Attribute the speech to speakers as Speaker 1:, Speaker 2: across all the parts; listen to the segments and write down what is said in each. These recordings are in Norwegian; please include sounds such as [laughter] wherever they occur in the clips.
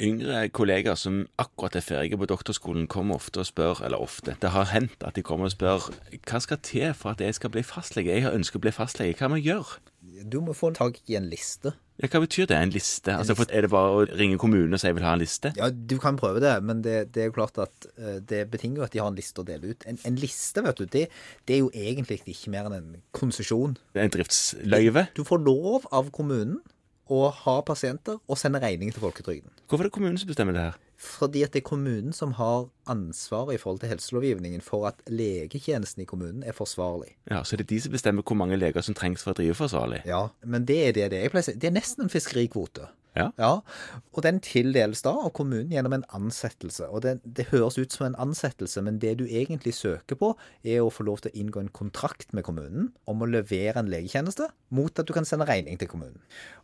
Speaker 1: Yngre kollegaer som akkurat er ferdige på doktorskolen, kommer ofte og spør, eller ofte, det har hendt at de kommer og spør hva skal til for at jeg skal bli fastlege? Jeg har ønsket å bli fastlege, hva må jeg gjøre?
Speaker 2: Du må få tak i en liste.
Speaker 1: Ja, hva betyr det, en liste? Altså, for Er det bare å ringe kommunen og si jeg vil ha en liste?
Speaker 2: Ja, du kan prøve det, men det, det er jo klart at eh, det betinger jo at de har en liste å dele ut. En, en liste, vet du, det, det er jo egentlig ikke mer enn en konsesjon.
Speaker 1: En driftsløyve?
Speaker 2: Du får lov av kommunen å ha pasienter og sende regning til folketrygden.
Speaker 1: Hvorfor er det kommunen som bestemmer det her?
Speaker 2: Fordi at det er kommunen som har ansvaret i forhold til helselovgivningen for at legetjenesten i kommunen er forsvarlig.
Speaker 1: Ja, Så det er de som bestemmer hvor mange leger som trengs for å drive forsvarlig?
Speaker 2: Ja, men det er det det er. Jeg pleier å si, Det er nesten en fiskerikvote.
Speaker 1: Ja.
Speaker 2: Og den tildeles da av kommunen gjennom en ansettelse. Og det, det høres ut som en ansettelse, men det du egentlig søker på, er å få lov til å inngå en kontrakt med kommunen om å levere en legetjeneste mot at du kan sende regning til kommunen.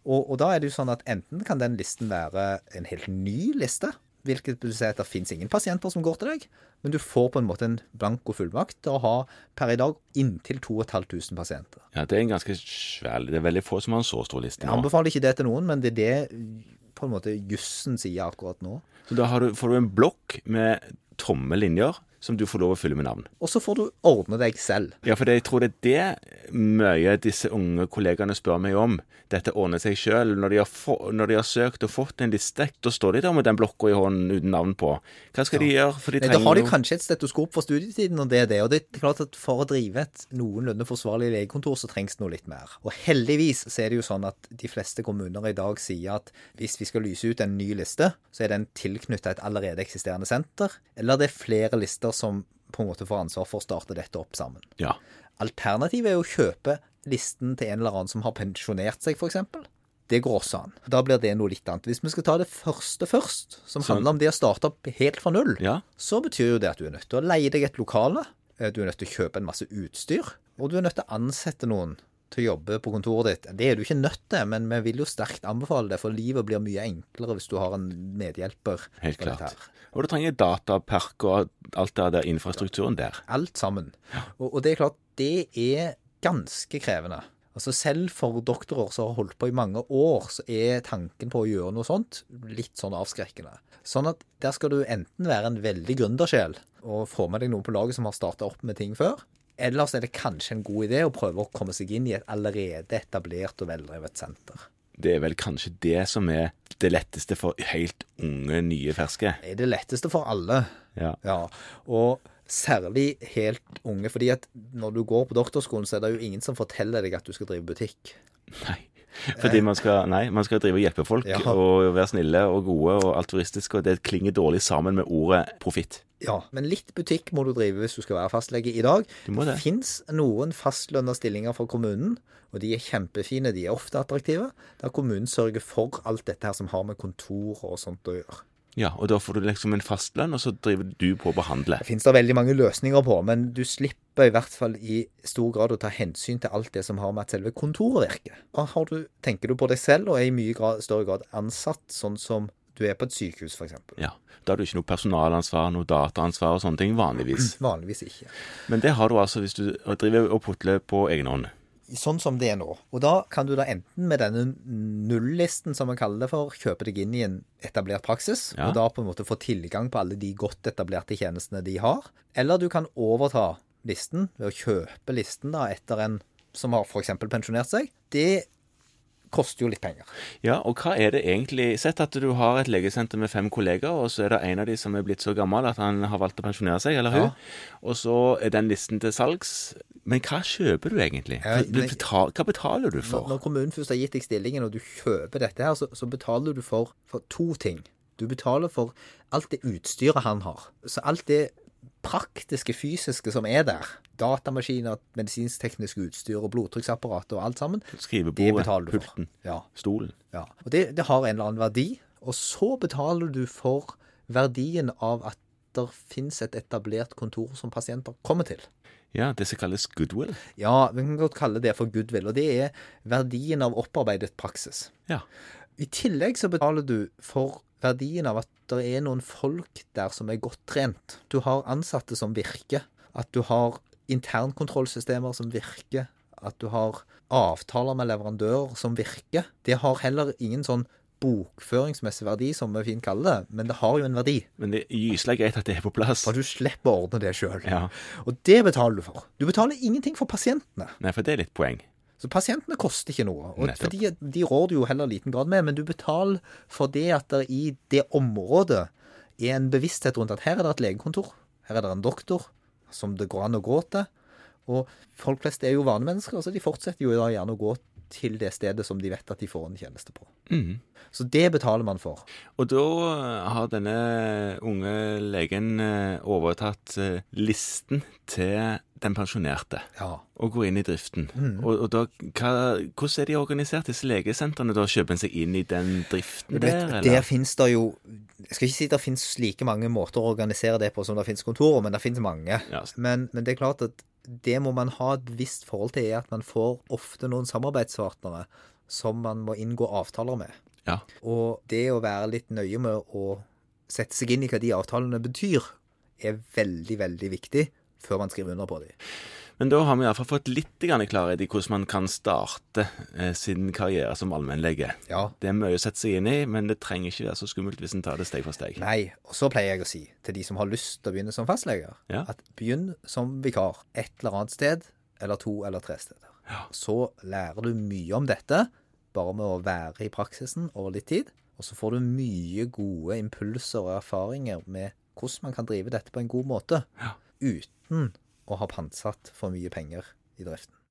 Speaker 2: Og, og da er det jo sånn at enten kan den listen være en helt ny liste. Hvilket vil si at det finnes ingen pasienter som går til deg, men du får på en måte en blanko fullmakt til å ha per i dag inntil 2500 pasienter.
Speaker 1: Ja, Det er en ganske svær Det er veldig få som har en så stor liste
Speaker 2: Jeg
Speaker 1: nå.
Speaker 2: anbefaler ikke det til noen, men det er det på en måte jussen sier akkurat nå.
Speaker 1: Så da har du, får du en blokk med tomme linjer som du får lov å fylle med navn.
Speaker 2: Og så får du ordne deg selv.
Speaker 1: Ja, for jeg tror det er det mye disse unge kollegaene spør meg om. Dette ordner seg sjøl. Når, de har få- når de har søkt og fått en liste, da står de der med den blokka i hånden uten navn på. Hva skal de gjøre? For de
Speaker 2: Nei, da har de
Speaker 1: jo-
Speaker 2: kanskje et stetoskop for studietiden, og det er det. Og det er klart at for å drive et noenlunde forsvarlig legekontor, så trengs det noe litt mer. Og heldigvis så er det jo sånn at de fleste kommuner i dag sier at hvis vi skal lyse ut en ny liste, så er den tilknytta et allerede eksisterende senter, eller det er flere lister som på en måte får ansvar for å starte dette opp sammen.
Speaker 1: Ja.
Speaker 2: Alternativet er å kjøpe listen til en eller annen som har pensjonert seg, f.eks. Det går også an. Da blir det noe litt annet. Hvis vi skal ta det første først, som handler om det å starte opp helt fra null,
Speaker 1: Ja.
Speaker 2: så betyr jo det at du er nødt til å leie deg et lokale, eh, du er nødt til å kjøpe en masse utstyr, og du er nødt til å ansette noen til å jobbe på kontoret ditt. Det er du ikke nødt til, men vi vil jo sterkt anbefale det, for livet blir mye enklere hvis du har en medhjelper.
Speaker 1: Helt
Speaker 2: på dette
Speaker 1: klart.
Speaker 2: her.
Speaker 1: Og du trenger datapark og alt det der infrastrukturen der.
Speaker 2: Alt sammen. Og, og det er klart, det er ganske krevende. Altså Selv for doktorer som har holdt på i mange år, så er tanken på å gjøre noe sånt litt sånn avskrekkende. Sånn at der skal du enten være en veldig gründersjel og få med deg noen på laget som har starta opp med ting før, ellers er det kanskje en god idé å prøve å komme seg inn i et allerede etablert og veldrevet senter.
Speaker 1: Det er vel kanskje det som er det letteste for helt unge, nye, ferske.
Speaker 2: Det er det letteste for alle.
Speaker 1: Ja.
Speaker 2: Ja, og særlig helt unge, fordi at når du går på doktorskolen, så er det jo ingen som forteller deg at du skal drive butikk.
Speaker 1: Nei.
Speaker 2: Eh.
Speaker 1: Fordi man skal, nei, man skal drive og hjelpe folk
Speaker 2: Ja.
Speaker 1: og være snille og gode og altruistiske, og det klinger dårlig sammen med ordet profitt.
Speaker 2: Ja, men litt butikk må du drive hvis du skal være fastlege i dag.
Speaker 1: Du må det.
Speaker 2: fins noen fastlønna stillinger fra kommunen, og de er kjempefine, de er ofte attraktive, der kommunen sørger for alt dette her som har med kontor og sånt å gjøre.
Speaker 1: Ja, og da får du liksom en fastlønn, og så driver du på å behandle.
Speaker 2: Det finnes da veldig mange løsninger på, men du slipper i hvert fall i stor grad å ta hensyn til alt det som har med at selve kontoret virker. Da har du, tenker du på deg selv og er i mye grad, større grad ansatt, sånn som du er på et sykehus f.eks.
Speaker 1: Ja, Da har du ikke noe personalansvar, noe dataansvar og sånne ting
Speaker 2: [clears throat]
Speaker 1: vanligvis.
Speaker 2: Vanligvis ikke.
Speaker 1: Men det har du altså hvis du driver og putler på egen hånd.
Speaker 2: Sånn som det er nå. Og da kan du da enten med denne nullisten, som man kaller det for, kjøpe deg inn i en etablert praksis,
Speaker 1: Ja.
Speaker 2: og da på en måte få tilgang på alle de godt etablerte tjenestene de har. Eller du kan overta listen ved å kjøpe listen da etter en som har f.eks. pensjonert seg. Det koster jo litt penger.
Speaker 1: Ja, og hva er det egentlig Sett at du har et legesenter med fem kollegaer, og så er det en av de som er blitt så gammel at han har valgt å pensjonere seg, eller hun. Og så er den listen til salgs. Men hva kjøper du egentlig?
Speaker 2: Ja,
Speaker 1: Hva
Speaker 2: men-
Speaker 1: betal- hva betaler du
Speaker 2: Når,
Speaker 1: for?
Speaker 2: når kommunen først har gitt deg stillingen, og du kjøper dette her, så, så betaler du for, for to ting. Du betaler for alt det utstyret han har. Så alt det praktiske, fysiske som er der, datamaskiner, medisinsk-teknisk utstyr og blodtrykksapparat og alt sammen, det
Speaker 1: Skrivebordet,
Speaker 2: betaler du for.
Speaker 1: pulten,
Speaker 2: Ja,
Speaker 1: stolen.
Speaker 2: ja. Og det, det har en eller annen verdi. Og så betaler du for verdien av at det finnes et etablert kontor som pasienter kommer til.
Speaker 1: Ja, det som kalles goodwill.
Speaker 2: Ja, vi kan godt kalle det for goodwill, og det er verdien av opparbeidet praksis.
Speaker 1: Ja.
Speaker 2: I tillegg så betaler du for verdien av at det er noen folk der som er godt trent. Du har ansatte som virker, at du har internkontrollsystemer som virker, at du har avtaler med leverandører som virker. Det har heller ingen sånn bokføringsmessig verdi, som vi fint kaller det, men det har jo en verdi.
Speaker 1: Men det er gyselig greit at det er på plass.
Speaker 2: For du slipper å ordne det sjøl.
Speaker 1: Ja.
Speaker 2: Og det betaler du for. Du betaler ingenting for pasientene.
Speaker 1: Nei, for det er litt poeng.
Speaker 2: Så pasientene koster ikke noe. Og
Speaker 1: Nettopp.
Speaker 2: fordi de rår du jo heller liten grad med, men du betaler for det at det i det området er en bevissthet rundt at her er det et legekontor, her er det en doktor som det går an å gå til. Og folk flest er jo vanemennesker, så de fortsetter jo da gjerne å gå til det stedet som de vet at de får en tjeneste på. Så det betaler man for.
Speaker 1: Og da eh, har denne unge legen eh, overtatt eh, listen til den pensjonerte.
Speaker 2: Ja.
Speaker 1: Og går inn i driften. Og, og da, hva, hvordan er de organisert, disse legesentrene? da Kjøper en seg inn i den driften
Speaker 2: Det,
Speaker 1: der,
Speaker 2: der
Speaker 1: eller?
Speaker 2: finnes det jo Jeg skal ikke si det finnes like mange måter å organisere det på som det finnes kontorer, men det finnes mange.
Speaker 1: Ja.
Speaker 2: Men, men det er klart at det må man ha et bevisst forhold til, er at man får ofte noen samarbeidspartnere som man må inngå avtaler med.
Speaker 1: Ja.
Speaker 2: Og det å være litt nøye med å sette seg inn i hva de avtalene betyr, er veldig, veldig viktig før man skriver under på dem.
Speaker 1: Men da har vi iallfall fått litt grann klarhet i hvordan man kan starte eh, sin karriere som allmennlege.
Speaker 2: Ja.
Speaker 1: Det er mye å sette seg inn i, men det trenger ikke være så skummelt hvis en tar det steg for steg.
Speaker 2: Nei. Og så pleier jeg å si til de som har lyst til å begynne som fastleger,
Speaker 1: Ja.
Speaker 2: at begynn som vikar et eller annet sted, eller to eller tre steder. Så lærer du mye om dette, bare med å være i praksisen over litt tid. Og så får du mye gode impulser og erfaringer med hvordan man kan drive dette på en god måte, uten å ha pantsatt for mye penger i driften.